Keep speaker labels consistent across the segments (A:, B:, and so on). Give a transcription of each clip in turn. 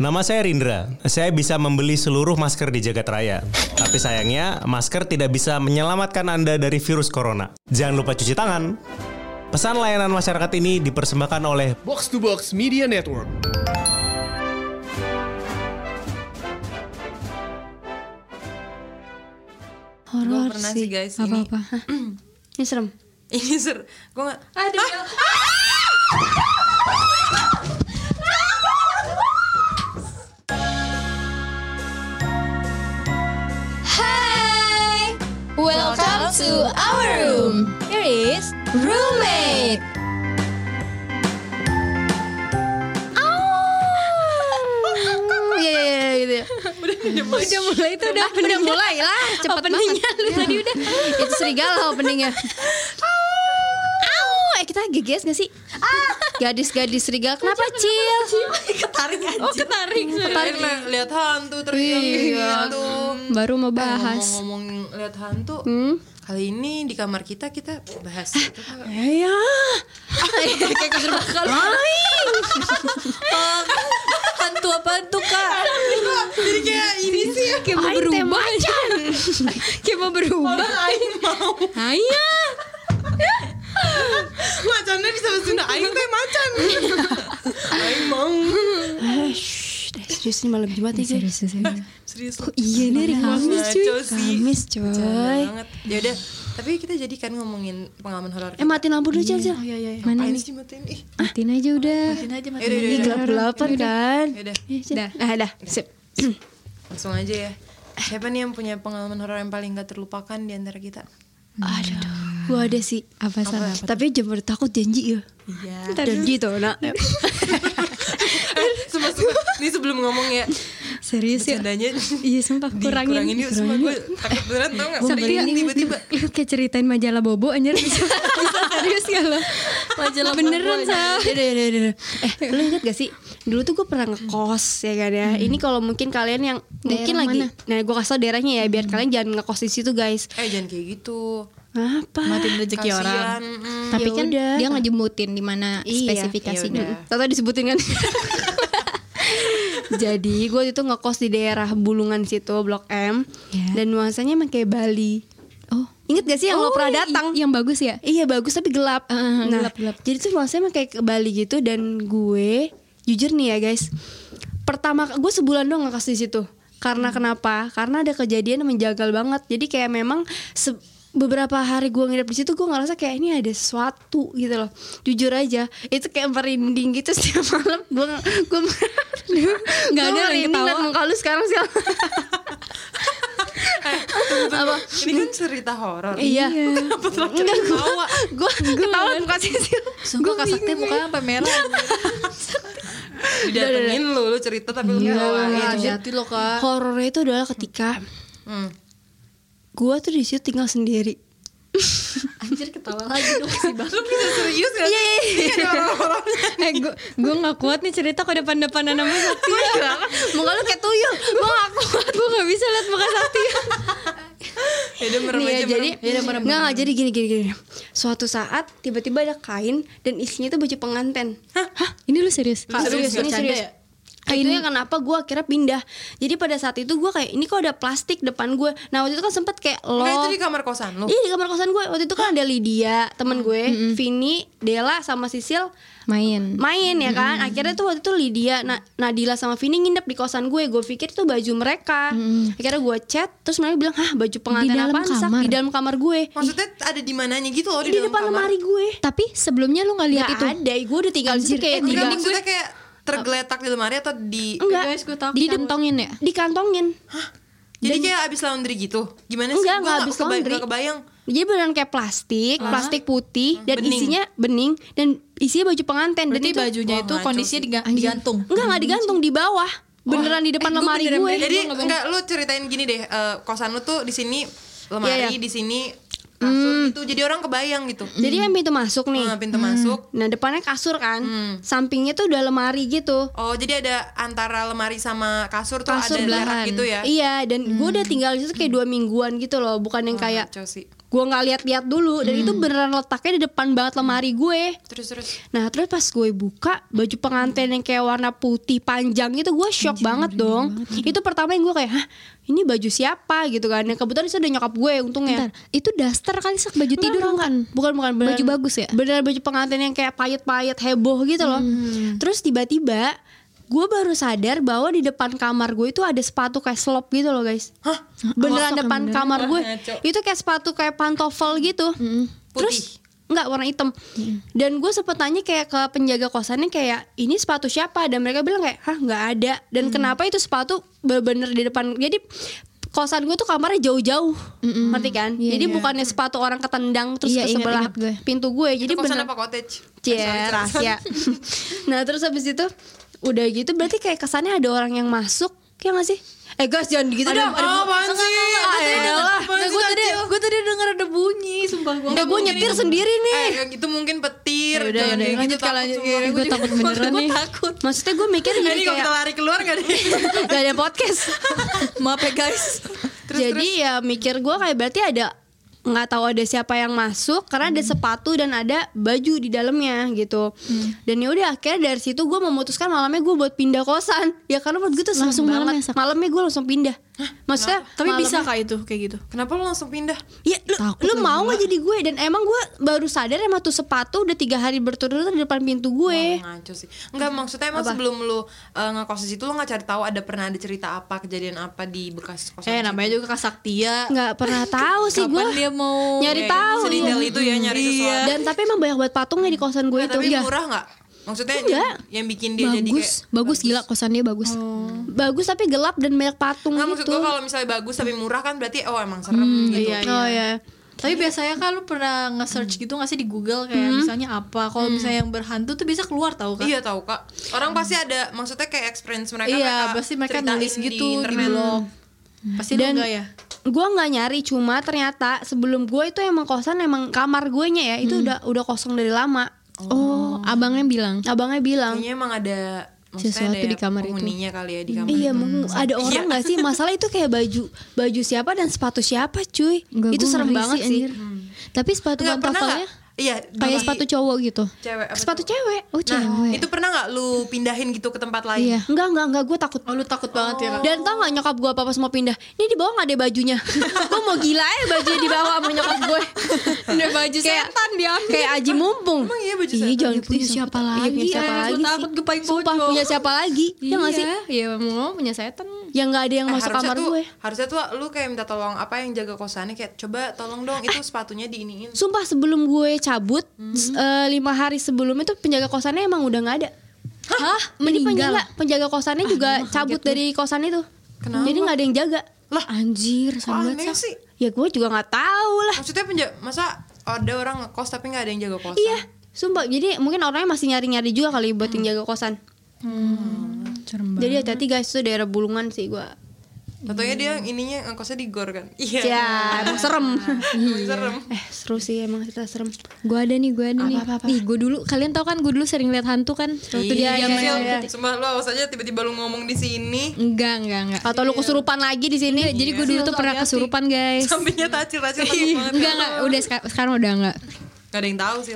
A: Nama saya Rindra. Saya bisa membeli seluruh masker di Jagat Raya. Tapi sayangnya, masker tidak bisa menyelamatkan Anda dari virus corona. Jangan lupa cuci tangan. Pesan layanan masyarakat ini dipersembahkan oleh
B: Box to Box Media Network.
C: Gua
D: Horor
C: pernah sih,
D: sih.
C: guys, ini.
D: Apa-apa. Hah? Ini serem.
C: ini ser gue nggak "Ah,
D: Aduh.
E: Hi! Welcome to our room. Here is roommate.
D: Iya iya iya gitu. ya. Udah mulai itu udah udah mulai lah. Cepet
E: Openingnya
D: banget. Lu tadi udah. Itu serigala openingnya. Au, eh kita geges gak sih? Gadis-gadis serigala Ah. kan kenapa cil?
C: ketarik aja oh ketarik
D: Ketarik.
C: Lihat- lihat hantu teriak
D: Iya.
C: hantu
D: Baru mau
C: Eh,
D: bahas.
C: ngomong-ngomong lihat hantu
D: Hmm?
C: kali ini di kamar kita kita bahas itu Kak.
D: Iya. Kayak kasur bakal.
E: Hantu apa tuh kak?
C: jadi kayak ini sih
D: Kayak mau berubah. Kayak mau berubah.
C: Aing mau
D: Iya.
C: macannya bisa bahasa Sunda Aing teh macan Aing mau
D: Eh, shh, eh, serius nih malam Jumat
F: Iya,
D: ya guys.
C: serius
D: Oh, iya nih hari Kamis cuy.
C: Ngaco sih.
D: Kamis
C: Bercanda
D: coy.
C: banget ya udah tapi kita jadi kan ngomongin pengalaman horor
D: Eh matiin lampu dulu Cil Cil.
F: Mana
C: Aing
F: nih?
C: sih matiin ih
F: Matiin aja udah.
C: ya udah
D: Ini
C: udah, udah
D: gelap-gelapan kan.
C: Yaudah.
D: Dah, nah, dah, sip.
C: langsung aja ya siapa nih yang punya pengalaman horor yang paling gak terlupakan di antara kita
D: Aduh, aduh. gua ada sih.
F: Apa salah?
D: Tapi jangan bertakut janji ya.
C: iya
D: Janji tuh nak.
C: sumpah sumpah ini sebelum ngomong ya
F: Serius ya?
C: bercandanya
F: Iya sumpah kurangin.
C: dikurangin yuk sumpah gue takut beneran tau gak
F: Sampai
C: Sampai tiba-tiba
F: Lu kayak ceritain majalah Bobo anjir bisa, bisa serius ya lo
E: Majalah
F: beneran sah
D: Dadah, dadah, dadah. Eh, lu ingat gak sih? Dulu tuh gue pernah ngekos ya kan ya. Ini kalau mungkin kalian yang mungkin
F: Hmm. Daerah
D: lagi.
F: mana?
D: Nah, gue kasih tau daerahnya ya biar kalian jangan ngekos di situ guys.
C: eh jangan kayak gitu
D: Apa?
F: matiin rezeki
C: kasihan mm.
F: tapi
D: Ya
F: kan
D: udah.
F: dia ngejemutin di mana
D: Iya,
F: spesifikasinya
C: ya udah.
D: Tata disebutin kan. Jadi gue itu ngekos di daerah Bulungan situ Blok M
F: Ya.
D: dan nuansanya emang kayak Bali.
F: oh
D: Ingat gak sih iya. yang lo
F: Oh,
D: pernah
F: i-
D: datang?
F: yang bagus ya
D: Iya bagus tapi gelap.
F: Ah, ah,
D: nah,
F: gelap, gelap.
D: Jadi tuh nuansanya emang kayak ke Bali gitu dan gue jujur nih ya guys. Pertama gue sebulan doang ngekos di situ. Karena kenapa? Karena ada kejadian yang menjagal banget. Jadi kayak memang se- beberapa hari gue nginep di situ gue ngerasa kayak ini ada sesuatu gitu loh. Jujur aja, itu kayak merinding gitu setiap malam gue gue
F: nggak ada yang
D: merinding
F: ketawa.
D: liat muka lu sekarang sih. Apa?
C: ini kan cerita horor
F: Eh,
D: Iya. kan.
C: kenapa terakhir ketawa
D: Gue ketawa bukan Sisil.
F: gue kasaknya mukanya sampai merah
C: didatengin lu lu cerita tapi lu Iya, ketawain
F: hati lo kak
D: Horornya itu adalah ketika
C: Hmm.
D: gue tuh di situ tinggal sendiri.
F: anjir ketawa lagi dong si bang
C: lu bisa serius gak? Iya, iya, iya.
F: eh gue gue nggak kuat nih cerita kok depan depanan sama Sakti
D: Muka lu kayak tuyul. Gue gak kuat.
F: gue nggak bisa lihat muka Sakti
C: Ya udah merem
D: Nih ya,
C: aja, merem.
D: jadi nggak nggak jadi gini gini gini. Suatu saat tiba-tiba ada kain dan isinya itu baju penganten.
F: Hah? ini lu serius
D: Kak, serius, ini serius. Kain. Itu yang kenapa gue akhirnya pindah. Jadi pada saat itu gue kayak ini kok ada plastik depan gue. Nah waktu itu kan sempet kayak lo.
C: Nah, itu di kamar kosan lu.
D: Iya di kamar kosan gue waktu itu kan ada Lydia temen gue, Vini, Della sama Sisil
F: main
D: main ya kan akhirnya tuh waktu itu Lydia Na- Nadila sama Vini nginep di kosan gue gue pikir itu baju mereka akhirnya gue chat terus mereka bilang hah baju pengantin
F: dalam
D: apaan sak
F: kamar?
D: di dalam kamar gue
C: Maksudnya ada Oh, di mananya gitu loh
D: di,
C: di, dalam
D: depan
C: kamar.
D: lemari gue
F: tapi sebelumnya lu nggak lihat
D: Gak
F: itu
D: ada gue udah tinggal di situ
F: Anjir,
D: kayak
F: eh,
D: tiga
C: Enggak, maksudnya kayak tergeletak di lemari atau di
D: enggak
F: guys gue takut
D: di
F: ditentongin ya
D: dikantongin
C: Jadi kayak abis laundry gitu? Gimana sih?
D: Enggak,
C: Gua
D: enggak
C: nggak
D: abis
C: keba-
D: laundry.
C: nggak kebayang
D: jadi beneran kayak plastik plastik putih dan
C: Bening.
D: isinya bening dan isinya baju penganten
G: Berarti
D: dan
G: bajunya
C: Wah,
G: itu
C: ngaco
G: kondisinya
C: sih.
G: diga- digantung.
D: enggak enggak digantung di bawah beneran di depan
G: eh, gue
D: lemari
G: beneran
D: gue
G: beda.
C: Jadi
G: gua nggak
C: enggak lu ceritain gini deh, eh, kosan lu tuh di sini lemari,
D: Iya, iya.
C: di sini kasur gitu. Jadi orang kebayang gitu.
D: Jadi kan pintu masuk nih.
C: Eh, pintu masuk.
D: Nah depannya kasur kan, sampingnya tuh udah lemari gitu.
C: Hmm. Oh, jadi ada antara lemari sama kasur tuh
F: Kasur
C: ada
F: belahan.
C: jarak gitu ya. Hmm.
D: Iya, dan gue udah tinggal di situ kayak dua mingguan gitu loh, bukan yang kayak
C: Kacau Nah, sih.
D: gue nggak lihat-lihat dulu. Dan
C: Hmm.
D: itu beneran letaknya di depan banget lemari gue.
C: Terus terus.
D: Nah terus pas gue buka baju pengantin yang kayak warna putih panjang itu gue shock banget dong. Itu pertama yang gue kayak, hah ini baju siapa gitu kan? Yang kebetulan itu udah nyokap gue untungnya.
F: Bentar, itu daster kali sak baju tidur bukan?
D: Bukan bukan beneran-
F: Baju bagus ya?
D: Beneran baju pengantin yang kayak payet-payet heboh gitu loh.
F: Hmm.
D: Terus tiba-tiba gue baru sadar bahwa di depan kamar gue itu ada sepatu kayak slop gitu loh guys. Hah? Beneran
F: Masuk
D: depan
F: beneran.
D: kamar gue.
C: Ah, Ngaco.
D: Itu kayak sepatu kayak pantofel gitu. Terus Enggak warna hitam Dan gue sempet tanya kayak ke penjaga kosannya kayak Ini sepatu siapa? Dan mereka bilang kayak Hah nggak ada Dan kenapa itu sepatu bener-bener di depan Jadi kosan gue tuh kamarnya jauh-jauh Ngerti kan?
F: Iya,
D: Jadi
F: iya.
D: bukannya sepatu orang ketendang Terus
F: Iya,
D: ke
F: ingat,
D: sebelah
F: ingat gue.
D: pintu gue Jadi
C: Itu kosan
D: bener
C: apa cottage? Eh, sorry, sorry,
D: Cie,
C: sorry.
D: Iya, rahasia. nah terus habis itu udah gitu berarti kayak kesannya ada orang yang masuk ya nggak sih? Eh guys jangan gitu
C: Ada
D: dong. Ada-
C: apaan
D: Enggak,
C: sih?
D: enggak, enggak.
C: Ada
D: Ah, elah.
C: apaan sih,
D: Nah, gua tadi
C: kacau?
D: gue tadi denger ada bunyi sumpah gitu. gue. Enggak gue nyetir sendiri nih.
C: Eh, itu mungkin petir.
D: Ya
F: udah,
C: jangan
F: udah,
C: kayak
F: lanjut,
C: gitu,
F: Kak,
C: takut
F: lanjut.
C: semua.
F: Iya, gua
C: Gua
F: takut
C: juga-
F: beneran
C: gua
F: nih.
C: takut.
D: Maksudnya gue mikir
C: Ini
D: jadi
C: kalau kita
D: kayak
C: lari keluar gak deh?
D: gak ada podcast.
F: Maaf ya guys.
D: jadi ya mikir gue kayak berarti ada nggak tahu ada siapa yang masuk karena
G: Hmm.
D: ada sepatu dan ada baju di dalamnya gitu dan ya udah akhirnya dari situ gue memutuskan malamnya gue buat pindah kosan ya karena menurut gue tuh
F: Langsung
D: langsung banget
F: malamnya, Sak?
D: malamnya gue langsung pindah maksudnya
G: Tapi
D: malamnya-
G: bisa kak itu kayak gitu?
C: Kenapa lo langsung pindah?
D: ya lu,
F: Takut
D: lu
F: lah
D: mau nggak jadi gue dan emang gue baru sadar emang tuh sepatu udah tiga hari berturut-turut di depan pintu gue
C: Ngaco sih. Enggak maksudnya emang sebelum lu eh, ngekos di situ lo nggak cari tahu ada pernah ada cerita apa kejadian apa di bekas kosan?
G: Eh
C: situ?
G: namanya juga Kak Saktia.
D: nggak pernah tahu sih
G: Kapan
D: gue
G: dia mau
D: nyari
C: Kayak
D: tahu
C: sedetail
D: ya.
C: itu ya nyari sesuatu.
D: dan tapi emang banyak buat patungnya di kosan
C: Nggak,
D: gue itu
C: Eh, tapi
D: Iya.
C: murah nggak? Maksudnya
D: Enggak.
C: yang- yang bikin dia Iya, jadi kayak
F: bagus, bagus gila kosannya bagus.
D: Oh. bagus tapi gelap dan banyak patung
C: Nggak Nah, maksud
D: gitu.
C: gue kalau misalnya bagus tapi murah kan berarti oh emang serem gitu.
G: Iya, iya.
D: Oh ya.
G: Tapi biasanya kan lu pernah nge-search gitu gak sih di Google kayak misalnya apa? Kalau misalnya yang berhantu tuh bisa keluar tau kan?
C: Iya tahu kak. Orang pasti ada maksudnya kayak experience mereka.
G: Iya, pasti mereka
C: ceritain
G: nulis gitu di,
C: internet.
G: blog. Pasti lu
D: Dan
G: enggak ya?
D: gue nggak nyari cuma ternyata sebelum gue itu emang kosan emang kamar gue nya ya itu
C: Hmm.
D: udah udah kosong dari lama.
F: Oh, abangnya bilang.
D: Abangnya bilang
C: Kayaknya emang ada maksudnya
F: Sesuatu
C: ada
F: di kamar itu.
C: penghuninya kali ya di kamar.
D: Iya, mau ada orang nggak sih? Masalah itu kayak baju baju siapa dan sepatu siapa, cuy.
F: Enggak,
D: itu
F: gua
D: serem
F: ngeri
D: banget sih.
F: anjir. Tapi sepatu
C: Nggak, pernah
F: pantofelnya
C: nggak? Iya,
F: kayak
C: di-
F: sepatu cowok gitu.
C: cewek. apa
D: Sepatu
C: tuh?
D: cewek.
F: Oh,
C: Nah,
F: cewek.
C: itu pernah nggak lu pindahin gitu ke tempat lain?
F: Iya.
D: Enggak, enggak, enggak, gue takut.
G: Oh, lu takut banget ya Kak?
D: Dan tau gak nyokap gue pas mau pindah Ini di bawah gak ada bajunya Gue mau gila ya bajunya di bawah sama nyokap gue Ada baju setan dia Kayak Aji Mumpung
C: Emang iya baju
D: Iya,
C: setan?
D: jangan
F: Iya,
D: punya siapa lagi
F: Iya, punya siapa
D: eh,
F: lagi
D: gua
F: sih.
D: takut gue paling Sumpah punya siapa lagi Ya gak sih?
F: Iya, mau punya setan.
D: Yang gak ada yang
C: Eh,
D: masuk
C: harusnya
D: kamar
C: tuh,
D: gue
C: Harusnya tuh lu kayak minta tolong apa yang jaga kosannya kayak coba tolong dong itu sepatunya diiniin.
D: Sumpah sebelum gue cabut s- eh, Lima hari sebelumnya tuh penjaga kosannya emang udah gak ada
F: Hah,
D: Jadi
F: meninggal.
D: penjaga, Ah, penjaga kosannya juga cabut dari kosan itu
C: Kenapa?
D: Jadi gak ada yang jaga
C: Lah,
F: Anjir,
C: kok
F: sama
C: aneh sih.
D: Ya gue juga gak tahu lah
C: Maksudnya penja- masa ada orang ngekos tapi nggak ada yang jaga kosan?
D: Iya, sumpah. Jadi mungkin orangnya masih nyari-nyari juga kali buat yang jaga kosan. Hmm.
F: Serem
D: Jadi hati-hati guys, itu daerah Bulungan sih gua.
C: Tentunya dia ininya ngekosnya di gor kan? Iya.
D: Ya, emang serem.
C: Serem.
D: eh, seru sih emang cerita serem.
F: Gue ada nih, gue ada nih. Nih, gue dulu, kalian tau kan gue dulu sering lihat hantu kan? Waktu dia
C: Iya,
F: zaman
C: Sil.
F: iya,
C: Sumpah lu awas aja tiba-tiba lu ngomong di sini.
F: Enggak, enggak, enggak.
D: Atau lu kesurupan lagi di sini?
F: Jadi gue dulu tuh pernah kesurupan, guys.
C: Sampingnya tacil tacil takut banget.
F: Iya. Enggak, enggak. Udah seka- sekarang udah enggak.
C: Gak ada yang tahu sih.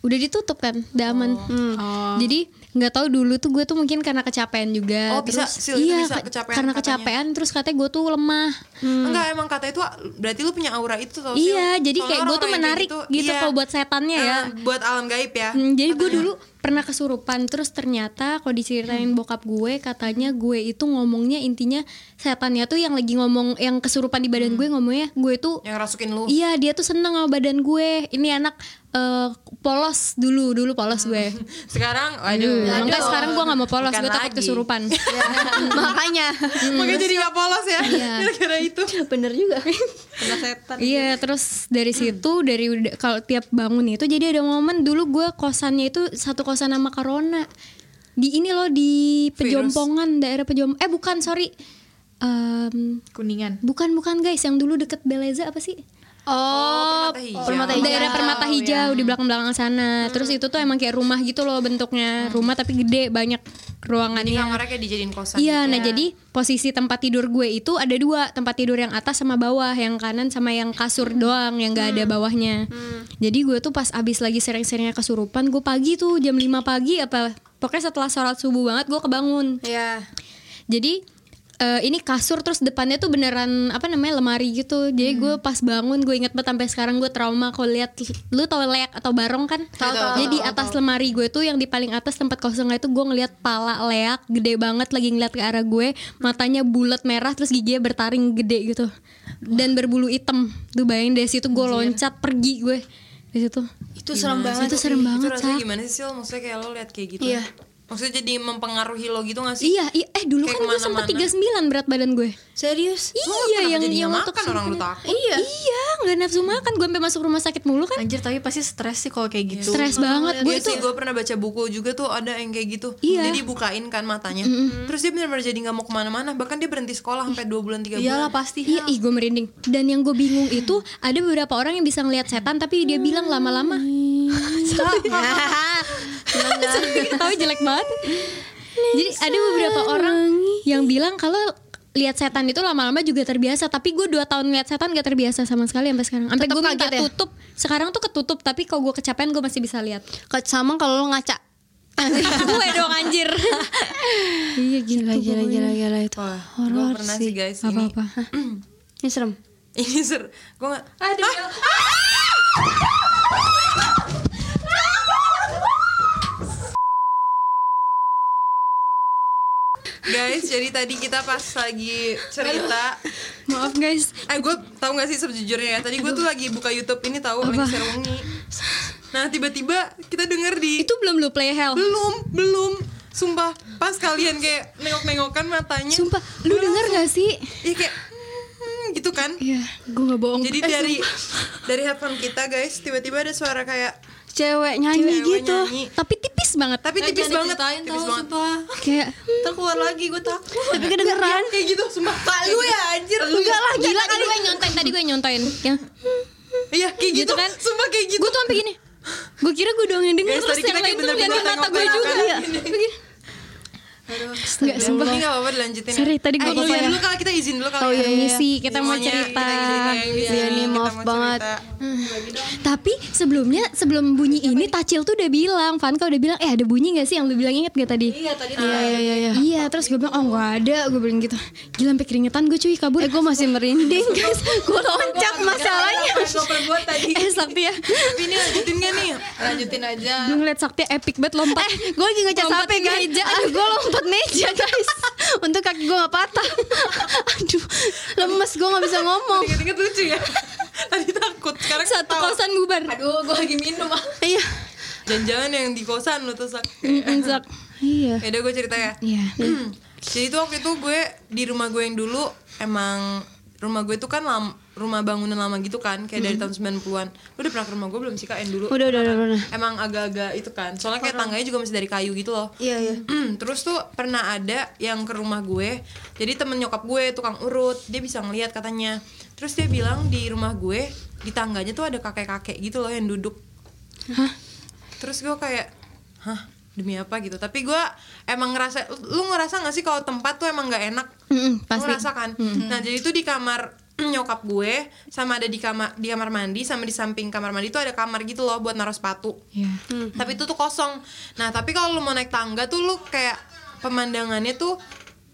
F: Udah ditutup kan, udah aman.
C: Oh.
F: Hmm. Jadi nggak tahu dulu tuh gue tuh mungkin karena kecapean juga
C: Oh, bisa,
F: terus
C: Sil, itu
F: iya
C: bisa
F: ke-
C: kecapean
F: karena
C: katanya.
F: kecapean terus katanya gue tuh lemah
C: Enggak emang kata itu berarti lu punya aura itu tau Oh,
F: Hmm.
C: Sil.
F: iya jadi
C: Soalnya
F: kayak gue tuh
C: orang-orang yang
F: menarik gitu
C: iya.
F: kalau buat setannya ya
C: Eh, buat alam gaib ya.
F: Hmm, jadi gue dulu pernah kesurupan terus ternyata kalau diceritain
C: Hmm.
F: bokap gue katanya gue itu ngomongnya intinya setannya tuh yang lagi ngomong yang kesurupan di
C: Hmm.
F: badan gue ngomongnya gue tuh
C: Yang rasukin lu.
F: iya dia tuh seneng sama badan gue ini anak eh, polos dulu dulu polos gue
C: Ah.
F: Hmm.
C: Sekarang aduh.
F: Aduh, makanya sekarang gue gak mau polos
C: Bukan
F: gue takut
C: lagi. Iya, kan,
F: kesurupan
D: Makanya.
C: Makanya jadi gak polos ya.
F: Hmm. Iya.
C: Gara-gara itu.
D: Bener juga.
F: Iya, terus dari
C: Hmm.
F: situ dari udah- kalau tiap bangun itu jadi ada momen dulu gue kosannya itu satu kosan sama Corona. Di ini loh di Pejompongan, daerah Pejom. Eh bukan, sorry. Em,
G: Kuningan.
F: bukan bukan guys, yang dulu deket Beleza apa sih? Oh,
C: Permata Hijau. Oh, iya.
F: permata
C: Hmm. Permata
F: daerah
C: Hijau,
F: permata hijau di belakang-belakang sana. Terus itu tuh emang kayak rumah gitu loh bentuknya, rumah tapi gede banyak
C: Hmm. Jadi
F: ruangannya.
C: kamarnya kayak Iya, dijadiin kosan.
F: Iya,
C: gitu.
F: nah jadi posisi tempat tidur gue itu ada dua tempat tidur yang atas sama bawah, yang kanan sama yang kasur doang yang gak ada bawahnya. Jadi gue tuh pas abis lagi sering-seringnya kesurupan, gue pagi tuh jam 5 pagi apa pokoknya setelah sholat subuh banget gue kebangun.
D: Ya.
F: Jadi eh, ini kasur terus depannya tuh beneran apa namanya lemari gitu. Jadi
C: Hmm.
F: gue pas bangun gue inget banget sampai sekarang gue trauma kalau lihat lu tau leak atau barong kan? Jadi atas lemari gue tuh yang di paling atas tempat kosongnya itu gue ngeliat pala leak gede banget lagi ngeliat ke arah gue, matanya bulat merah terus giginya bertaring gede gitu dan berbulu hitam. Tuh bayangin dari situ gue loncat pergi gue di situ.
D: Itu serem banget.
F: Itu serem
C: Itu
F: banget, Sak.
C: rasanya gimana sih Sil? Maksudnya kayak lo liat kayak gitu.
D: Iya.
C: Maksudnya jadi mempengaruhi lo gitu gak sih?
F: Iya, iya, eh dulu
C: Kayak
F: kan gue sempet
C: kemana-mana.
F: 39 berat badan gue.
D: Serius?
F: Iya, yang
C: jadi
F: yang
C: makan
F: kesini
C: orang lu
F: kan.
C: takut.
D: Iya.
F: Iya, nggak nafsu makan. Gue sampai masuk rumah sakit mulu kan.
G: Anjir tapi pasti stres sih kalau kayak gitu.
F: Stres banget gue
C: Iya
F: itu.
C: sih, gue pernah baca buku juga tuh ada yang kayak gitu.
F: Iya.
C: Jadi bukain kan matanya. Terus dia benar-benar jadi nggak mau kemana-mana. Bahkan dia berhenti sekolah sampai dua bulan tiga bulan.
G: Iyalah pasti.
F: Iya, ih gue merinding. Dan yang gue bingung itu ada beberapa orang yang bisa ngelihat setan tapi dia bilang lama-lama. Sorry, Tapi jelek banget. Jadi ada beberapa orang yang bilang kalau lihat setan itu lama-lama juga terbiasa tapi gue dua tahun lihat setan gak terbiasa sama sekali sampai sekarang sampai
D: Tetep
F: gue minta
D: kaget ya?
F: tutup sekarang tuh ketutup tapi kalau gue kecapean gue masih bisa lihat
D: Ke- Sama kalau lo ngaca.
F: gue dong anjir iya gitu
D: Gila, gila, gila, gila itu.
C: Wah, gue
D: Horor
C: pernah sih
D: sih.
C: guys
F: apa
C: ini.
F: apa
D: Ini serem.
C: Ini ser, gue nggak.
F: Ah,
C: Ada. Guys, jadi tadi kita pas lagi cerita
F: maaf guys
C: Eh gue tau gak sih sejujurnya ya Tadi gue tuh lagi buka Youtube ini tau Sama Kisah Wungi Nah tiba-tiba kita denger di
F: itu belum lu play hell
C: Belum, belum Sumpah Pas kalian kayak nengok-nengokan matanya
F: sumpah lu denger gak sih
C: Iya kayak "Hmm," gitu kan
F: iya gue gak bohong Eh,
C: Jadi dari dari headphone kita guys Tiba-tiba ada suara kayak
D: Cewek nyanyi
C: Cewek
D: gitu.
C: nyanyi.
F: tapi tipis banget
C: Tapi
G: Eh,
C: tipis banget
G: jangan diceritain
C: Tipis
G: tau,
C: banget
G: sumpah.
F: kayak
G: Ntar keluar lagi gue takut.
D: Tapi kedengeran.
C: Kayak gitu sumpah Kak lu ya anjir Enggak lah
F: gila tadi gue nyontain tadi gue nyontain yang
C: Iya kayak
F: Gitu
C: gitu,
F: kan?
C: Sumpah kayak gitu
F: gue tuh sampai gini gue kira gue doang yang denger
C: Guys,
F: terus
C: tadi
F: yang
C: kita
F: lain
C: kayak
F: tuh ngeliatin
C: bener-bener
F: mata gue juga
C: tengok-tengokan.
F: Iya. Begini. nggak
C: Ya,
F: sumpah
C: Ini gak apa-apa dilanjutin ya.
F: Sorry, tadi gua
C: Eh, izin
F: lupa ya.
C: dulu kalau kita izin dulu kalau
F: Oh,
C: ya.
F: iya, misi. Kita mau
C: Semuanya
F: cerita.
C: kita izin yang di
D: Iya,
C: sini,
D: nih,
C: kita
D: maaf
C: mau
D: banget.
C: cerita.
F: tapi sebelumnya sebelum bunyi ini Tacil tuh udah bilang Vanka udah bilang eh ada bunyi gak sih yang lu bilang inget gak tadi
G: Iya tadi
D: Iya, iya, iya, iya.
F: Iya, terus gue bilang, oh gak ada, gue bilang gitu Gila, sampai keringetan gue cuy, kabur
D: Eh, gue masih merinding, guys. Gue loncat masalahnya.
C: Gue perbuat tadi. Iya.
F: Eh, Sakti ya
C: Tapi ini lanjutin gak nih?
G: Lanjutin aja.
F: Gue ngeliat Sakti epic banget lompat
D: Eh, gue lagi ngecas
F: Lompat
D: HP kan.
F: meja.
D: Aduh, gue lompat meja, guys. Untuk kaki gue gak patah. Aduh, lemes gue gak bisa ngomong.
C: Ingat-ingat lucu ya. Tadi takut, sekarang
F: Satu
C: ketawa.
F: kosan bubar
G: Aduh gue lagi minum. ah.
D: Iya.
C: Jangan-jangan yang di kosan lu tuh sak.
F: Mm, Sak
D: Iya.
C: Ya udah gue cerita ya.
F: Iya
C: Hmm. Jadi tuh waktu itu gue di rumah gue yang dulu emang rumah gue itu kan lam- rumah bangunan lama gitu kan kayak dari tahun 90-an. Lu udah pernah ke rumah gue belum sih Kak yang dulu?
D: Hmm. Udah, udah, udah, udah.
C: Emang agak-agak itu kan. Soalnya kayak tangganya juga masih dari kayu gitu loh.
D: Iya, iya.
C: Terus tuh pernah ada yang ke rumah gue. Jadi temen nyokap gue tukang urut, dia bisa ngeliat katanya. Terus dia bilang di rumah gue di tangganya tuh ada kakek-kakek gitu loh yang duduk. Terus gue kayak, hah demi apa gitu. Tapi gue emang ngerasa, lu ngerasa gak sih kalau tempat tuh emang gak enak?
F: pasti Hmm.
C: merasakan. Nah, jadi itu di kamar nyokap gue sama ada di kamar di kamar mandi sama di samping kamar mandi itu ada kamar gitu loh buat naruh sepatu.
F: Iya.
C: Tapi itu tuh kosong. Nah, tapi kalau lu mau naik tangga tuh lu kayak pemandangannya tuh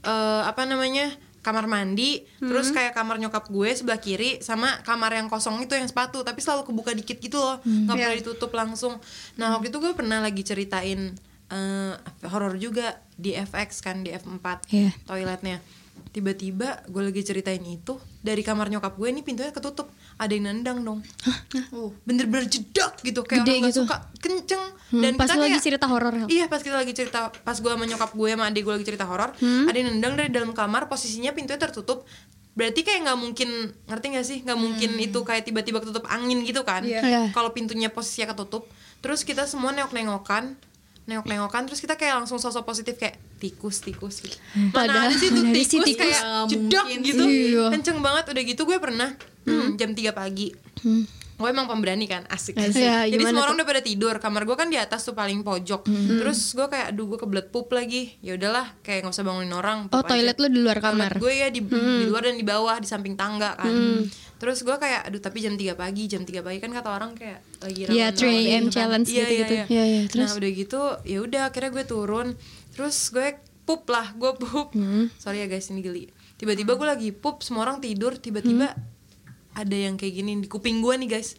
C: eh, apa namanya? kamar mandi, terus kayak kamar nyokap gue sebelah kiri sama kamar yang kosong itu yang sepatu, tapi selalu kebuka dikit gitu loh.
F: Hmm.
C: nggak pernah ditutup langsung. Nah, waktu itu gue pernah lagi ceritain eh horor juga di FX kan di F4
F: Iya.
C: toiletnya tiba-tiba gue lagi ceritain itu dari kamar nyokap gue ini pintunya ketutup ada yang nendang dong Oh, bener-bener jedak gitu kayak
F: Nah. Gede
C: orang nggak
F: gitu.
C: suka kenceng
F: Hmm,
C: dan
F: pas
C: kita
F: lu lagi
C: kayak-
F: cerita horor, Hel.
C: iya pas kita lagi cerita pas gue sama nyokap gue sama adik gue lagi cerita horor ada yang nendang dari dalam kamar posisinya pintunya tertutup berarti kayak nggak mungkin ngerti nggak sih nggak mungkin itu kayak tiba-tiba ketutup angin gitu kan
D: Iya.
C: kalau pintunya posisinya ketutup terus kita semua nengok-nengokan nengok-nengokan terus kita kayak langsung sosok positif kayak tikus tikus gitu.
F: Padahal-
C: Mana ada sih tuh
F: mana ada
C: tikus,
F: sih tikus?
C: kayak jedak gitu.
F: Iya.
C: Kenceng banget udah gitu gue pernah jam 3 pagi gue emang pemberani kan asik,
D: Ya,
C: jadi semua
D: gimana tuh?
C: orang udah pada tidur kamar gue kan di atas tuh paling pojok
F: Hmm.
C: terus gue kayak aduh gue kebelet pup lagi ya udahlah kayak nggak usah bangunin orang
F: Oh
C: pup aja.
F: toilet lo di luar kamar.
C: Kamar
F: Hmm.
C: gue ya di, di luar dan di bawah di samping tangga kan terus gue kayak aduh tapi jam 3 pagi jam 3 pagi kan kata orang kayak
F: Iya,
C: lagi rawan
F: 3
C: rawan
F: AM
C: gitu kan.
F: challenge
C: Iya,
F: gitu-gitu.
C: iya, iya.
D: Iya, iya, terus?
C: nah udah gitu ya udah akhirnya gue turun terus gue pup lah gue pup
F: Hmm.
C: sorry ya guys ini geli tiba-tiba gue lagi pup semua orang tidur
F: Hmm.
C: tiba-tiba ada yang kayak gini di kuping gue nih guys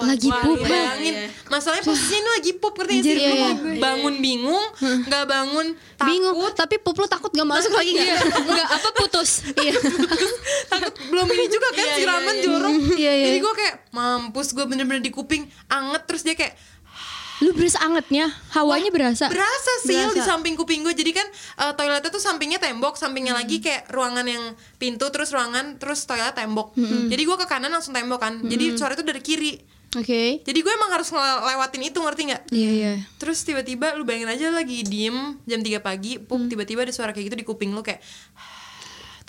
F: Lagi
C: Oh, Wah,
F: pup.
C: bayangin. Masalahnya posisinya ini lagi pup ngerti gak sih?
D: Anjir,
C: Lu
D: iya,
C: mau bangun bingung, nggak bangun takut,
D: Bingung, tapi pup lu takut gak masuk lagi gitu.
F: Enggak apa putus. Iya.
C: takut belum ini juga kan siraman jorok.
D: Iya, iya.
C: Jadi gue kayak mampus gue bener-bener di kuping anget terus dia kayak
F: Lu berasa angetnya, hawanya berasa.
C: berasa sih
F: Berasa.
C: di samping kuping gue jadi kan eh, toiletnya tuh sampingnya tembok sampingnya
D: Hmm.
C: lagi kayak ruangan yang pintu terus ruangan terus toilet tembok
D: Hmm.
C: jadi gue ke kanan langsung tembok kan jadi suara itu dari kiri
D: Oke.
C: jadi gue emang harus ngelewatin itu ngerti nggak
F: Iya iya.
C: Terus tiba-tiba lu bayangin aja lagi diem jam 3 pagi, pup tiba-tiba ada suara kayak gitu di kuping lu kayak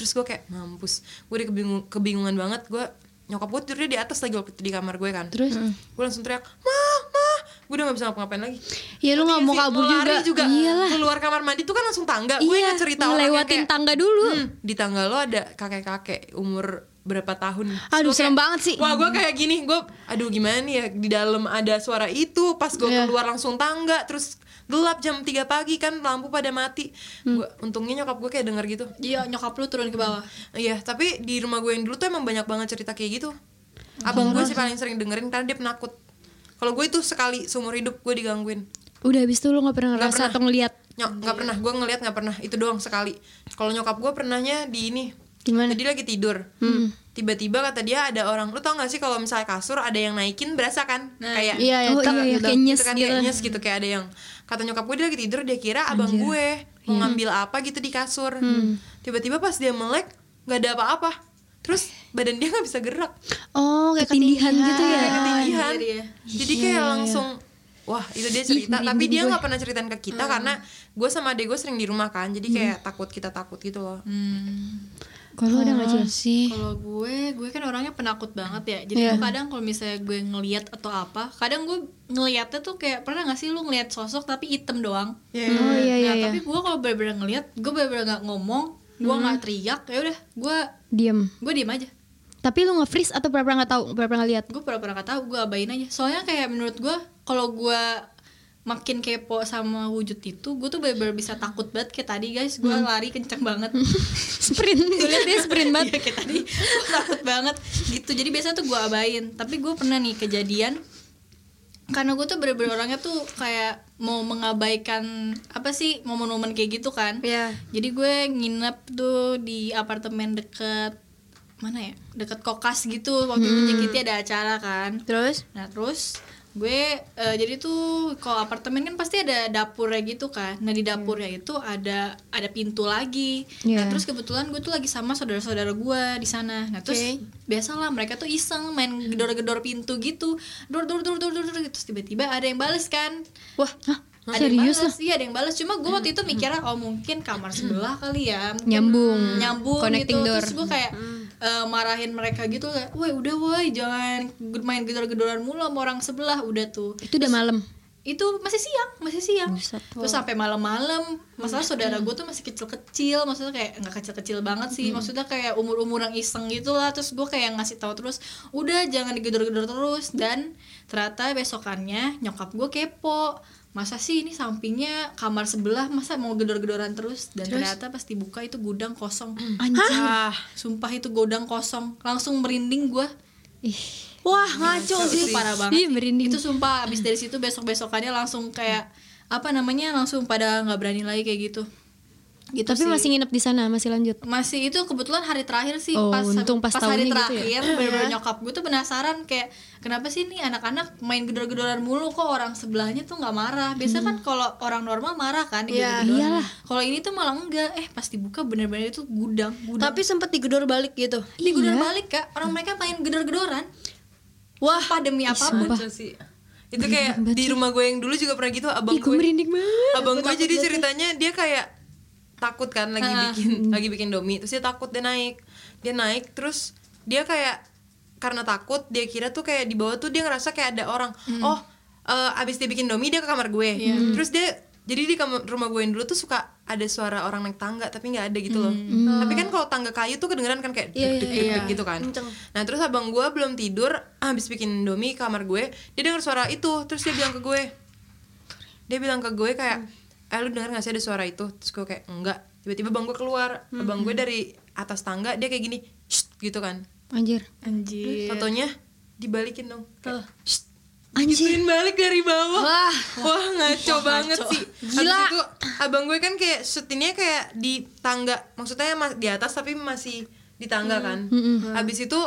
C: Terus gue kayak mampus, gue udah kebingung- kebingungan banget, gue nyokap gue tidurnya di atas lagi waktu itu di kamar gue kan
D: Terus?
C: Gue langsung teriak, mah, mah Gue udah gak bisa ngapa-ngapain lagi
D: Ya lu
C: Ngerti
D: gak mau
C: sih?
D: kabur juga.
C: lari juga
F: Iyalah.
C: Keluar kamar mandi tuh kan langsung tangga Gue
F: Iya,
C: ingat cerita orang yang
F: ngelewatin
C: kayak
F: tangga dulu.
C: "Hmm, Di tangga lo ada kakek-kakek umur berapa tahun
D: Aduh,
C: Gua
D: serem
C: kayak,
D: banget sih.
C: Wah gue kayak gini Gue aduh gimana nih ya Di dalam ada suara itu Pas gue
D: Iya.
C: keluar langsung tangga Terus gelap jam 3 pagi kan Lampu pada mati gua, Untungnya nyokap gue kayak denger gitu
G: Iya nyokap lu turun ke bawah.
C: Iya tapi di rumah gue yang dulu tuh Emang banyak banget cerita kayak gitu Abang gue sih paling sering dengerin Karena dia penakut kalau gue itu sekali seumur hidup gue digangguin
F: Udah habis itu lu nggak pernah ngerasa
C: pernah.
F: atau ngeliat
C: Nyok, nggak
F: Iya.
C: pernah. Gue ngeliat nggak pernah. Itu doang sekali. Kalau nyokap gue pernahnya di ini.
D: Gimana?
C: Jadi lagi tidur.
F: Hmm.
C: Tiba-tiba kata dia ada orang. Lu tau gak sih kalau misalnya kasur ada yang naikin berasa kan? kayak
D: Iya, iya,
F: Oh
D: tak,
F: iya, iya
D: gitu.
F: kayak nyes
C: gitu kan
F: gitu.
C: kayak nyes gitu kayak ada yang kata nyokap gue dia lagi tidur dia kira abang gue mau
F: Iya.
C: ngambil apa gitu di kasur.
F: Hmm.
C: Tiba-tiba pas dia melek nggak ada apa-apa. Terus badan dia nggak bisa gerak.
D: Oh, kayak
F: Ketindihan
D: ketindihan
F: gitu
D: gitu
F: ya?
D: ya.
C: Kayak ketindihan.
G: anjir ya.
C: Jadi kayak langsung Wah itu dia cerita Tapi dia nggak pernah ceritain ke kita Karena gue sama adek gue sering di rumah kan Jadi kayak takut kita takut gitu loh
F: Kalau udah nggak jelas
D: sih.
G: Kalau gue, gue kan orangnya penakut banget ya. Jadi
D: Iya.
G: gue kadang kalau misalnya gue ngeliat atau apa, kadang gue ngeliatnya tuh kayak pernah gak sih lu ngeliat sosok tapi item doang.
D: Oh iya iya
G: nah
D: iya. Mm-hmm.
G: tapi gue kalau bener-bener ngeliat, gue bener-bener gak ngomong, gue nggak teriak, ya udah gue
F: Diam.
G: gue diem aja.
F: Tapi lu nge-freeze atau pernah nggak tahu, pernah nggak lihat?
G: Gue pura-pura gak tahu, gue abain aja. Soalnya kayak menurut gue, kalau gue makin kepo sama wujud itu, gue tuh bener-bener bisa takut banget kayak tadi guys, gue
D: Mm-hmm.
G: lari kenceng banget.
F: sprint. Gue lihat dia sprint banget.
G: Iya, kayak tadi gua takut banget gitu jadi biasanya tuh gue abain tapi gue pernah nih kejadian karena gue tuh bener-bener orangnya tuh kayak mau mengabaikan apa sih momen-momen kayak gitu kan
D: Iya.
G: jadi gue nginep tuh di apartemen deket mana ya deket kokas gitu waktu itu JKT ada acara kan
D: Terus?
G: Nah terus gue eh, jadi tuh kalau apartemen kan pasti ada dapurnya gitu kan. Nah di dapurnya itu ada ada pintu lagi. Nah
F: Iya.
G: terus kebetulan gue tuh lagi sama saudara-saudara gue di sana. Nah terus biasalah mereka tuh iseng main gedor-gedor pintu gitu. Dor dor dor dor dor dor gitu. terus tiba-tiba ada yang bales kan.
F: Wah, hah?
G: Ada
F: serius
G: yang
F: lah.
G: balas, iya ada yang balas. Cuma gue waktu itu mikirnya oh mungkin kamar sebelah kali ya, mungkin
F: Nyambung.
G: nyambung
F: Connecting
G: gitu.
F: door.
G: Terus gue kayak eh, marahin mereka gitu, kayak, woi udah woi jangan main gedor-gedoran mulu sama orang sebelah, udah tuh.
F: Itu udah malam.
G: Itu masih siang, masih siang. Terus sampai malam-malam, masalah saudara gue tuh masih kecil-kecil, maksudnya kayak nggak kecil-kecil banget sih, maksudnya kayak umur-umur yang iseng gitu lah. Terus gue kayak ngasih tahu terus, udah jangan digedor-gedor terus. Dan ternyata besokannya nyokap gue kepo masa sih ini sampingnya kamar sebelah masa mau gedor-gedoran terus dan ternyata pas dibuka itu gudang kosong
F: Anjir.
C: Ah,
G: sumpah itu gudang kosong langsung merinding gue
F: Ih,
G: wah ngaco sih parah banget
F: Iya, merinding.
G: itu sumpah abis dari situ besok besokannya langsung kayak apa namanya langsung pada nggak berani lagi kayak gitu gitu
F: Tapi
G: sih.
F: masih nginep di sana, masih lanjut.
G: masih itu kebetulan hari terakhir sih
F: Oh,
G: pas
F: untung pas tahunnya
G: hari
F: gitu ya.
G: terakhir bener-bener nyokap gue tuh penasaran kayak kenapa sih nih anak-anak main gedor-gedoran mulu kok orang sebelahnya tuh nggak marah biasanya
F: Hmm.
G: kan kalau orang normal marah kan
D: Iya.
G: digedor-gedoran. kalau ini tuh malah enggak eh pas dibuka bener-bener itu gudang gudang
D: Tapi sempet digedor balik gitu.
F: Iya.
G: digedor balik kak orang mereka main gedor-gedoran wah demi apapun
C: itu sih. Itu kayak di rumah gue yang dulu juga pernah gitu abang
F: Ih, gue
C: gue.
F: merinding banget.
C: Abang gue jadi ceritanya dia kayak takut kan lagi bikin lagi bikin domi terus dia takut dia naik dia naik terus dia kayak karena takut dia kira tuh kayak di bawah tuh dia ngerasa kayak ada orang oh eh, abis dia bikin domi dia ke kamar gue terus dia jadi di kamar rumah gue yang dulu tuh suka ada suara orang naik tangga tapi nggak ada gitu loh tapi kan kalau tangga kayu tuh kedengeran kan kayak deg deg deg gitu kan nah terus abang gue belum tidur ah, habis bikin domi ke kamar gue dia dengar suara itu terus dia bilang ke gue dia bilang ke gue kayak eh lu denger gak sih ada suara itu terus gue kayak enggak tiba-tiba bang gue keluar abang gue dari atas tangga dia kayak gini "Shh," gitu kan
F: Anjir.
G: Anjir.
C: fotonya dibalikin dong kayak, "Shh,"
F: Anjir.
C: gituin balik dari bawah wah, ngaco banget sih gila Habis itu, abang gue kan kayak syutingnya kayak di tangga maksudnya mas- di atas tapi masih di tangga kan habis itu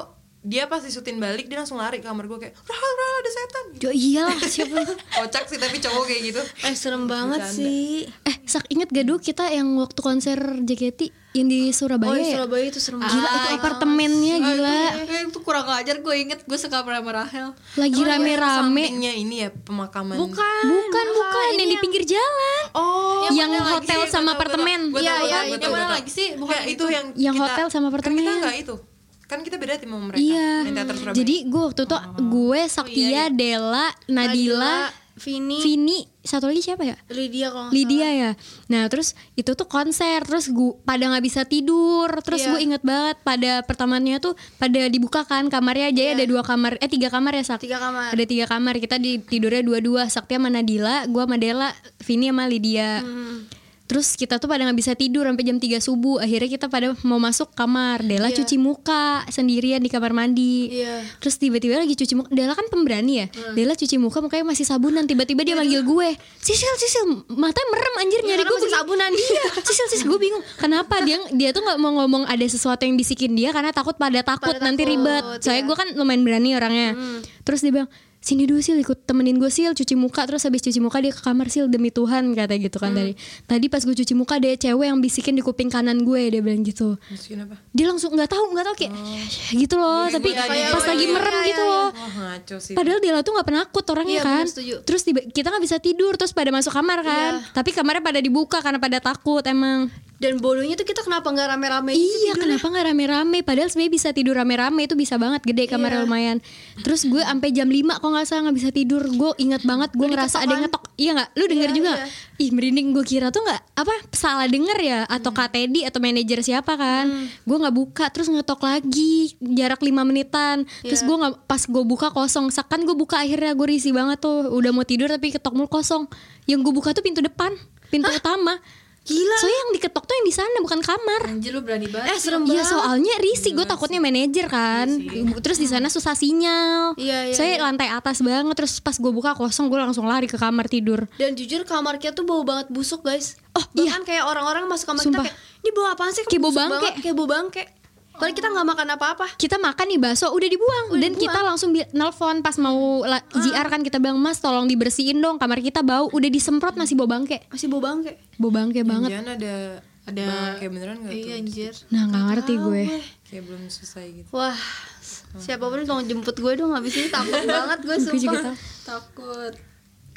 C: dia pas disutin balik dia langsung lari ke kamar gue kayak rahal rahal ada setan
F: Jo iyalah siapa
C: kocak sih tapi cowok kayak gitu
D: Eh serem banget
C: Bercanda.
D: sih.
F: Eh, sak inget gak dulu kita yang waktu konser JKT yang di Surabaya?
D: Oh,
F: ya?
D: Surabaya itu serem banget.
F: Gila itu apartemennya Iya, gila.
G: Eh, itu kurang ajar gue inget gue suka sama Rahel.
F: Lagi rame-rame.
C: sampingnya ini ya pemakaman
F: Bukan, bukan yang di pinggir jalan.
C: Oh,
F: Yang hotel sama apartemen.
C: Iya,
G: Iya,
C: iya,
G: iya,
C: iya.
G: yang mana lagi sih? Bukan
C: Bukan itu yang
F: Yang hotel sama apartemen.
C: Kan kita enggak itu. Kan kita beda tim sama mereka.
F: Iya.
C: Main teater Surabaya.
F: Jadi gue waktu itu gue Saktia, Della, Nadila,
D: Vini,
F: Vini, satu lagi siapa ya?
D: Lydia kalau nggak
F: Lydia ya. Nah terus itu tuh konser, terus gue pada nggak bisa tidur,
D: Iya.
F: terus gue inget banget pada pertamanya tuh pada dibuka kan kamarnya aja ya, ada dua kamar, eh tiga kamar ya Sakti.
D: Iya. Tiga kamar.
F: Ada tiga kamar, kita di tidurnya dua-dua, Sakti sama Nadila, gue sama Della, Vini sama Lydia.
D: Hmm.
F: Terus kita tuh pada nggak bisa tidur sampai jam 3 subuh. Akhirnya kita pada mau masuk kamar. Della cuci muka sendirian di kamar mandi.
D: Iya.
F: Terus tiba-tiba lagi cuci muka. Della kan pemberani ya. Della cuci muka mukanya masih sabunan. Tiba-tiba dia manggil gue. Sisil, Sisil, matanya merem anjir nyari gue begini. sabunan. Iya. Sisil, Sisil, gue bingung. Kenapa dia dia tuh nggak mau ngomong ada sesuatu yang bisikin dia karena takut pada takut Hmm. nanti ribet. Soalnya gue kan lumayan berani orangnya. Terus dia bilang, sini dulu sil ikut temenin gue sil cuci muka terus habis cuci muka dia ke kamar sil demi Tuhan kata gitu kan tadi tadi pas gue cuci muka ada cewek yang bisikin di kuping kanan gue dia bilang gitu
C: Masukin apa?
F: dia langsung nggak tahu nggak tahu kayak gitu loh tapi pas lagi merem gitu loh
C: Wah, ngaco sih.
F: Padahal dia tuh nggak penakut orangnya
D: Iya,
F: kan.
D: bener, setuju. Iya.
F: Terus tiba, kita nggak bisa tidur terus pada masuk kamar kan. Tapi kamarnya pada dibuka karena pada takut emang.
D: Dan bodohnya tuh kita kenapa nggak rame-rame gitu
F: Iya
D: tidur?
F: kenapa nggak rame-rame? Padahal sebenarnya bisa tidur rame-rame itu bisa banget gede kamarnya lumayan. Terus gue sampai jam 5 kok nggak salah nggak bisa tidur. Gue ingat banget gue ngerasa ada yang ngetok. Iya nggak? Lu denger juga? nggak? Ih merinding gue kira tuh nggak apa salah denger ya atau Kak Teddy atau manajer siapa kan? Gue nggak buka terus ngetok lagi jarak 5 menitan. Terus gue nggak pas gue buka kosong. Sekan gue buka akhirnya gue risih banget tuh. Udah mau tidur tapi ketok mulu kosong. Yang gue buka tuh pintu depan, pintu utama. Gila. Soalnya yang diketok tuh yang di sana bukan kamar.
G: Anjir lu berani banget.
D: Eh
F: Iya
D: serem banget. Iya
F: soalnya risih gue takutnya manajer kan Terus di sana susah sinyal
D: Iya, iya,
F: Saya lantai atas banget Terus pas gue buka kosong gue langsung lari ke kamar tidur
D: Dan jujur kamar kita tuh bau banget busuk guys.
F: Oh, iya.
D: Bahkan kayak orang-orang masuk kamar
F: Sumpah.
D: kita kayak ini bau apaan sih?
F: Kayak bau
D: Busuk
F: bangke.
D: banget, Kayak bau bangke. Padahal kita nggak makan apa-apa.
F: Kita makan nih bakso udah dibuang Dan kita langsung bi- nelfon pas mau la-
D: Ah.
F: JR kan kita bilang Mas tolong dibersihin dong kamar kita bau Udah disemprot masih bau bangke
D: Masih bau bangke.
F: Bau
D: Iya.
F: bangke banget
C: Jangan ada ada
G: Ada-
C: kayak beneran enggak
G: Iya
C: tuh?
G: anjir.
F: Nah gak ngerti gue
D: Ya
C: Kayak belum selesai gitu.
D: Wah, siapapun tolong jemput gue dong habis ini takut banget gue
F: Gue juga
D: sumpah.
F: tahu.
G: Takut.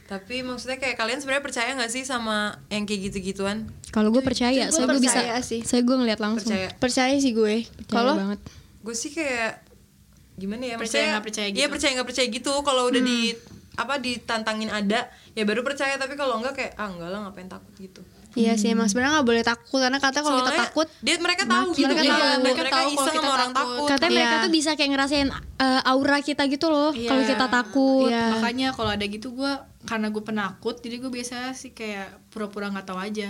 C: Tapi maksudnya kayak kalian sebenarnya percaya nggak sih sama yang kayak gitu-gituan?
F: Kalau gue percaya Oh,
D: Gue
F: iya, Soalnya gue bisa
D: percaya sih.
F: Soalnya gue ngeliat langsung
C: Percaya.
D: Percaya sih gue.
F: Kalau
D: Kalau
F: banget
C: Gue sih kayak gimana ya?
G: Percaya
C: maksudnya-
G: nggak percaya gitu.
C: Iya percaya nggak percaya gitu. Kalau udah di apa ditantangin ada ya baru percaya tapi kalau enggak kayak ah enggak lah ngapain takut gitu
D: Iya sih emang sebenarnya nggak boleh takut karena kata Kan kalau kita
C: Soalnya
D: takut
C: dia mereka tahu gitu
G: Mereka
C: mereka,
G: tahu.
C: mereka,
G: Mereka tahu kalau
C: iseng
G: kita
C: sama orang
G: takut.
C: takut
F: Katanya mereka
D: Iya.
F: tuh bisa kayak ngerasain eh, aura kita gitu loh
G: Iya.
F: Kalau kita takut
D: Iya.
G: Makanya kalau ada gitu gue karena gue penakut jadi gue biasa sih kayak pura-pura nggak tahu aja.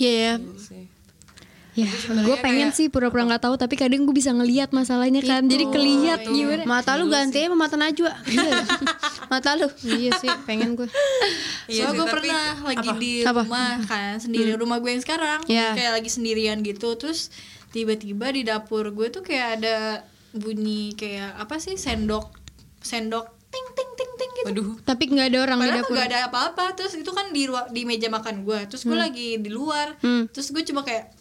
D: Iya ya.
C: sih.
F: Ya, gue pengen sih pura-pura nggak tahu, tapi kadang gue bisa ngelihat masalahnya kan, jadi
D: Gitu.
F: kelihat
D: Iya.
F: gimana?
D: Mata lu ganti sama mata Najwa. mata lu.
F: iya sih, pengen gue.
C: Iya
G: Soalnya
C: sih,
G: gue
C: tapi
G: pernah lagi di
D: Apa?
G: rumah kan sendiri rumah gue yang sekarang
D: Iya.
G: kayak lagi sendirian gitu terus tiba-tiba di dapur gue tuh kayak ada bunyi kayak apa sih sendok sendok ting ting ting ting gitu.
C: Waduh.
F: tapi nggak ada orang di
G: Padahal
F: dapur.
G: nggak ada apa-apa terus itu kan di ruang di meja makan gue terus gue lagi di luar terus gue cuma kayak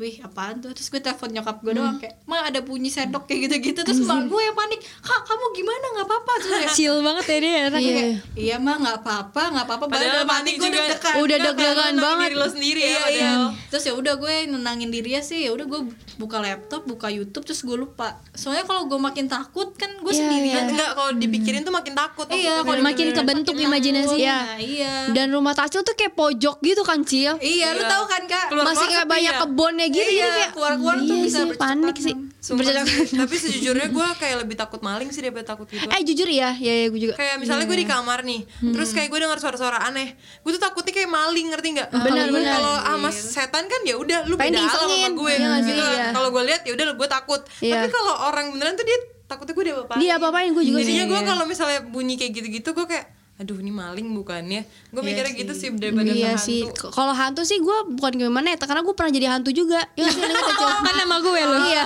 G: wih apaan tuh terus gue telepon nyokap gue doang kayak ma ada bunyi sendok kayak gitu-gitu terus mak gue yang panik kak kamu gimana nggak apa-apa terus kayak,
F: Chill banget ya dia anaknya
G: Iya.
F: kayak,
G: Iya mah nggak apa-apa, nggak apa-apa.
C: Padahal
G: dalam hati
C: panik
G: gua
C: juga. Iya, Udah
G: deg-degan. Nggak,
C: deg-degan
G: padahal nenangin
C: banget.
G: diri lo sendiri ya
C: Iya,
G: padahal.
C: iya.
G: Terus ya udah gue nenangin diri ya sih. Ya udah gue buka laptop, buka YouTube terus gue lupa. Soalnya kalau gue makin takut kan
C: Iya,
G: gue sendirian.
C: Enggak kalau dipikirin tuh makin takut.
G: Iya, kalau
F: Makin
G: dipikirin
F: kebentuk
G: makin
F: imajinasi.
G: takut.
D: Iya.
G: Nah, iya.
D: Dan rumah Tacil tuh kayak pojok gitu kan Cil
G: Iya, lu tahu kan Kak?
C: Keluar-
D: Masih
C: keluar
D: kayak banyak
C: sepi ya?
D: kebonnya gitu
G: Iya,
D: jadi kayak
G: keluar-keluar tuh
D: iya
G: bisa
D: sih,
G: bercepat
D: panik sih
C: Sumpah
D: Bercepat-
C: sih. Tapi sejujurnya gue kayak lebih takut maling sih daripada takut gitu.
D: Eh jujur ya, ya, ya gue juga
C: Kayak misalnya gue di kamar nih,
D: Hmm.
C: terus kayak gue dengar suara-suara aneh, gue tuh takutnya kayak maling ngerti nggak?
D: Ah, Benar,
C: Kalau-
D: benar.
C: Kalau sama setan kan ya udah, lu
D: Pengen
C: beda alam sama
D: diisengin.
C: gue.
D: Iya nggak sih?
C: gitu kan.
D: Iya.
C: Kalau gue lihat ya udah gue takut.
D: Iya.
C: Tapi kalau orang beneran tuh dia takutnya gue dia apa?
D: Dia apa-apain, gue juga
C: Jadinya
D: sih.
C: gue
D: Iya.
C: kalau misalnya bunyi kayak gitu-gitu gue kayak, aduh ini maling bukannya? Gue mikirnya gitu sih daripada sama
D: Iya sih,
C: hantu.
D: K- kalau hantu sih gue bukan gimana ya, karena gue pernah jadi hantu juga. Iya nggak sih, Neng, kecil.
F: Kan nama gue loh.
D: Iya.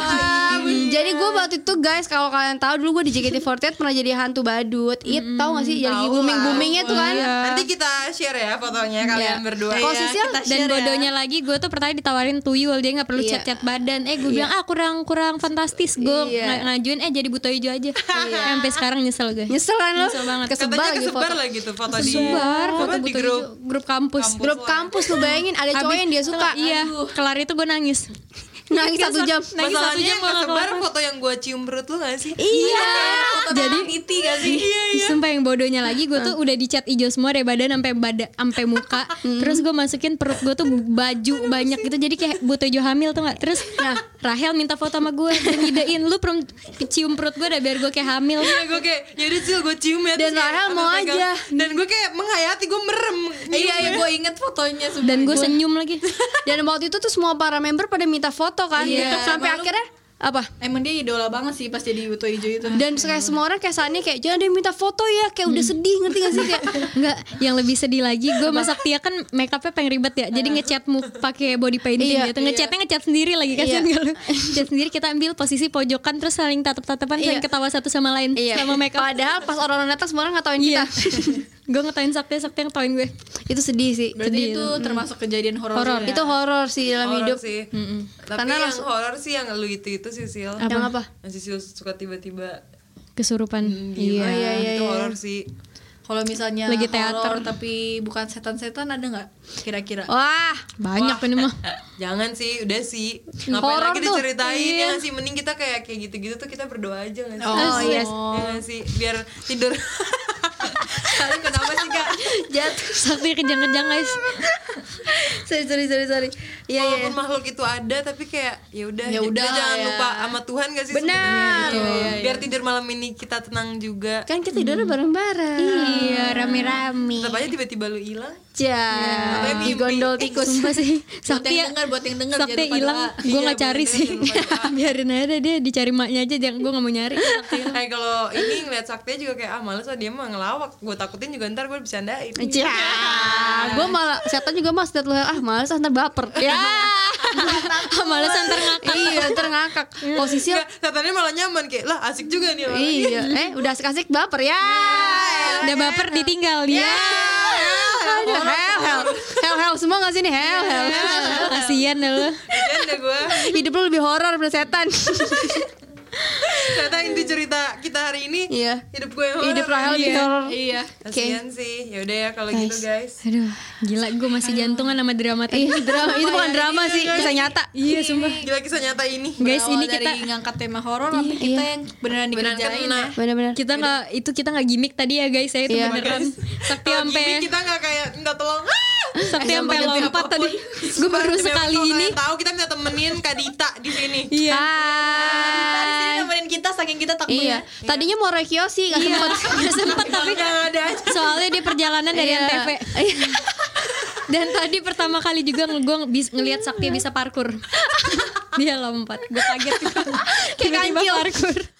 D: Jadi gue waktu itu guys, kalau kalian tahu dulu gue di JKT48 pernah jadi hantu badut. It tau gak sih? Jadi
C: Tahu
D: booming
C: lah. Iya.
D: boomingnya tuh kan. Iya.
C: Nanti kita share ya fotonya kalian berdua. Iya.
D: Kalau Sisil
F: Dan bodohnya lagi gue tuh pertama ditawarin tuyul dia nggak perlu
D: ya. Iya.
F: cat-cat badan. Eh gue bilang ah kurang kurang fantastis gue
D: Iya.
F: nga- ngajuin eh jadi buta hijau aja. Sampai sekarang nyesel gue.
D: nyesel kan lo?
F: Nyesel banget.
D: Kesebar
C: Katanya
D: lagi
C: kesebar
D: foto.
C: lagi tuh foto di
F: Sebar
C: apa,
F: foto
C: di
F: buta
C: grup
F: hijau grup kampus.
D: Grup kampus lu bayangin ada cowok
F: Abis-
D: yang dia suka.
F: Iya. Kelar itu gue nangis.
D: Nangis satu jam.
F: Nangis satu
C: Masalahnya
F: jam
C: yang
F: gua nggak
C: kesebar
F: kelar.
C: foto yang gue cium perut lu gak sih?
D: Iya.
F: Jadi
G: Iti gak sih?
C: Iya.
F: Sumpah yang bodohnya lagi gue
D: Ah.
F: tuh udah dicat hijau semua dari badan sampai badan sampai muka.
D: Hmm.
F: Terus gue masukin perut gue tuh baju banyak gitu jadi kayak buta hijau hamil tuh nggak. Terus
D: Nah.
F: Rahel minta foto sama gue dan ngidein lu perem- cium perut gue dah biar gue kayak hamil.
C: Iya gue kayak yaudah Cil gue cium ya
D: Dan
C: Terus kayak
D: Rahel mau
C: ambil pegang.
D: aja.
C: Dan gue kayak menghayati gue merem
G: Iya, iya gue inget fotonya sebenarnya.
F: Dan gue senyum lagi.
D: Dan waktu itu tuh semua para member pada minta foto kan.
G: Iya.
D: Sampai
G: Malu.
D: akhirnya apa?
G: Emang dia idola banget sih pas jadi Yuto Ijo itu.
D: Dan kayak semua orang kayak Sani kayak jangan dia minta foto ya kayak udah sedih ngerti gak sih kayak
F: Enggak, yang lebih sedih lagi gue sama Saktia kan make upnya pengen ribet ya. Jadi ngecat mu pakai body painting
D: Ah. Iya,
F: gitu. Ngecatnya ngecat sendiri lagi kasihan nggak lu. Ngecat sendiri kita ambil posisi pojokan terus saling tatap-tatapan saling
D: Iya.
F: ketawa satu sama lain sama make up.
D: Padahal pas orang-orang datang semua orang ngatain
F: Iya.
D: kita.
F: gue ngetawain Saktia, Saktia ngetawain gue.
D: itu sedih sih.
G: Berarti
F: Sedih.
G: itu termasuk kejadian horor.
D: Horor.
G: juga ya?
D: Itu horor sih dalam
C: Horor
D: hidup.
C: sih Tapi
D: Karena
C: yang
D: langsung-
C: horor sih yang lu itu itu sih Sil
D: Yang apa?
C: Yang Sisil suka tiba-tiba
F: Kesurupan.
C: gila.
D: iya, iya,
C: Itu
D: iya.
C: horor sih
G: Kalau misalnya
F: Lagi
G: Lagi
F: teater. Oh,
G: horor tapi bukan setan-setan ada nggak kira-kira?
D: Wah,
F: Banyak ini mah.
C: Jangan sih, udah sih Ngapain
D: Horor
C: lagi
D: tuh.
C: diceritain
D: Iya.
C: ya nggak sih Mending kita kayak kayak gitu-gitu tuh kita berdoa aja gak sih
D: Oh, iya.
C: Iya nggak sih, biar tidur Kalian kenapa sih kak?
D: jatuh.
F: Saktia kejang-kejang guys.
D: sorry, sorry, sorry, sorry. Iya, iya.
C: Walaupun makhluk itu ada tapi kayak ya udah
G: Ya
C: kita
G: udah lah
C: jangan
G: ya.
C: lupa sama Tuhan gak sih
D: Benar.
C: sebenarnya gitu.
D: Iya,
C: biar tidur malam ini kita tenang juga
D: Kan kita tidurnya bareng-bareng.
F: Iya, rame-rame.
D: iya.
C: tetap aja tiba-tiba lu hilang
D: Ja.
C: Makanya mimpi.
D: Di gondol tikus.
F: Sumpah sih.
G: Buat yang
F: Saktia
G: dengar, buat yang dengar
F: Sakti Eh, hilang, gue
C: Iya,
F: nggak cari
C: boleh,
F: sih.
C: jangan lupa doa.
F: Biarin aja dia dicari maknya aja, jangan gue nggak mau nyari.
D: Iya.
C: kayak kalau ini ngeliat sakti juga kayak ah males lah dia mah ngelawak gue takutin juga ntar gue bercandain
D: Ja. Gue Ah, malah setan juga mas liat lo ah males ah, ntar baper. Ya.
F: Malah santer ngakak.
D: iya, ntar ngakak. Posisi
C: Nggak, setannya malah nyaman kayak lah asik juga nih orang ini."
D: Iya, eh udah asik-asik baper ya.
F: Udah baper ditinggal Iya. dia.
C: Iya.
D: Aduh, hell, hell, hell, hell, semua gak sih nih hell, hell.
F: Kasian dah lu.
C: bercanda gue
D: Hidup lu lebih horor daripada setan.
C: ternyata inti cerita kita hari ini
D: Iya.
C: hidup gue yang
D: Hidup
C: horor.
D: Rahel lebih horor.
G: Iya.
C: kasian sih yaudah ya kalau gitu guys
F: Aduh, gila gue masih jantungan sama drama tadi.
D: Ih, Iya, drama, itu bukan drama sih, kisah nyata.
F: Iya, sumpah.
C: gila kisah nyata ini
F: Guys, ini
G: dari
F: kita Iya.
G: ngangkat tema horor sampai kita yang beneran
C: beneran
G: dikerjain. ya?
C: kena
D: Benar-benar.
F: kita nggak itu kita nggak gimmick tadi ya guys ya itu
D: Iya.
F: beneran sakti
C: Kalau
F: sampai
C: gimmick kita nggak kayak minta tolong "Ah!"
F: sakti
G: Eh,
F: sampai
G: sampai demi
F: lompat
G: apapun.
F: tadi gue baru
C: Demi apa,
F: sekali
C: kalau
F: ini
C: kalian tahu kita minta temenin Kak Dita di sini
F: iya
D: Ah,
G: Tadi sini nemenin kita saking kita takut
D: Iya, tadinya mau rekio sih gak
F: iya
D: sempet.
F: nggak sempet tapi
C: Iya.
F: soalnya dia perjalanan dari
D: Iya.
F: Antv dan tadi pertama kali juga gue ngelihat Sakti bisa parkur dia lompat gue kaget gitu. tiba-tiba parkur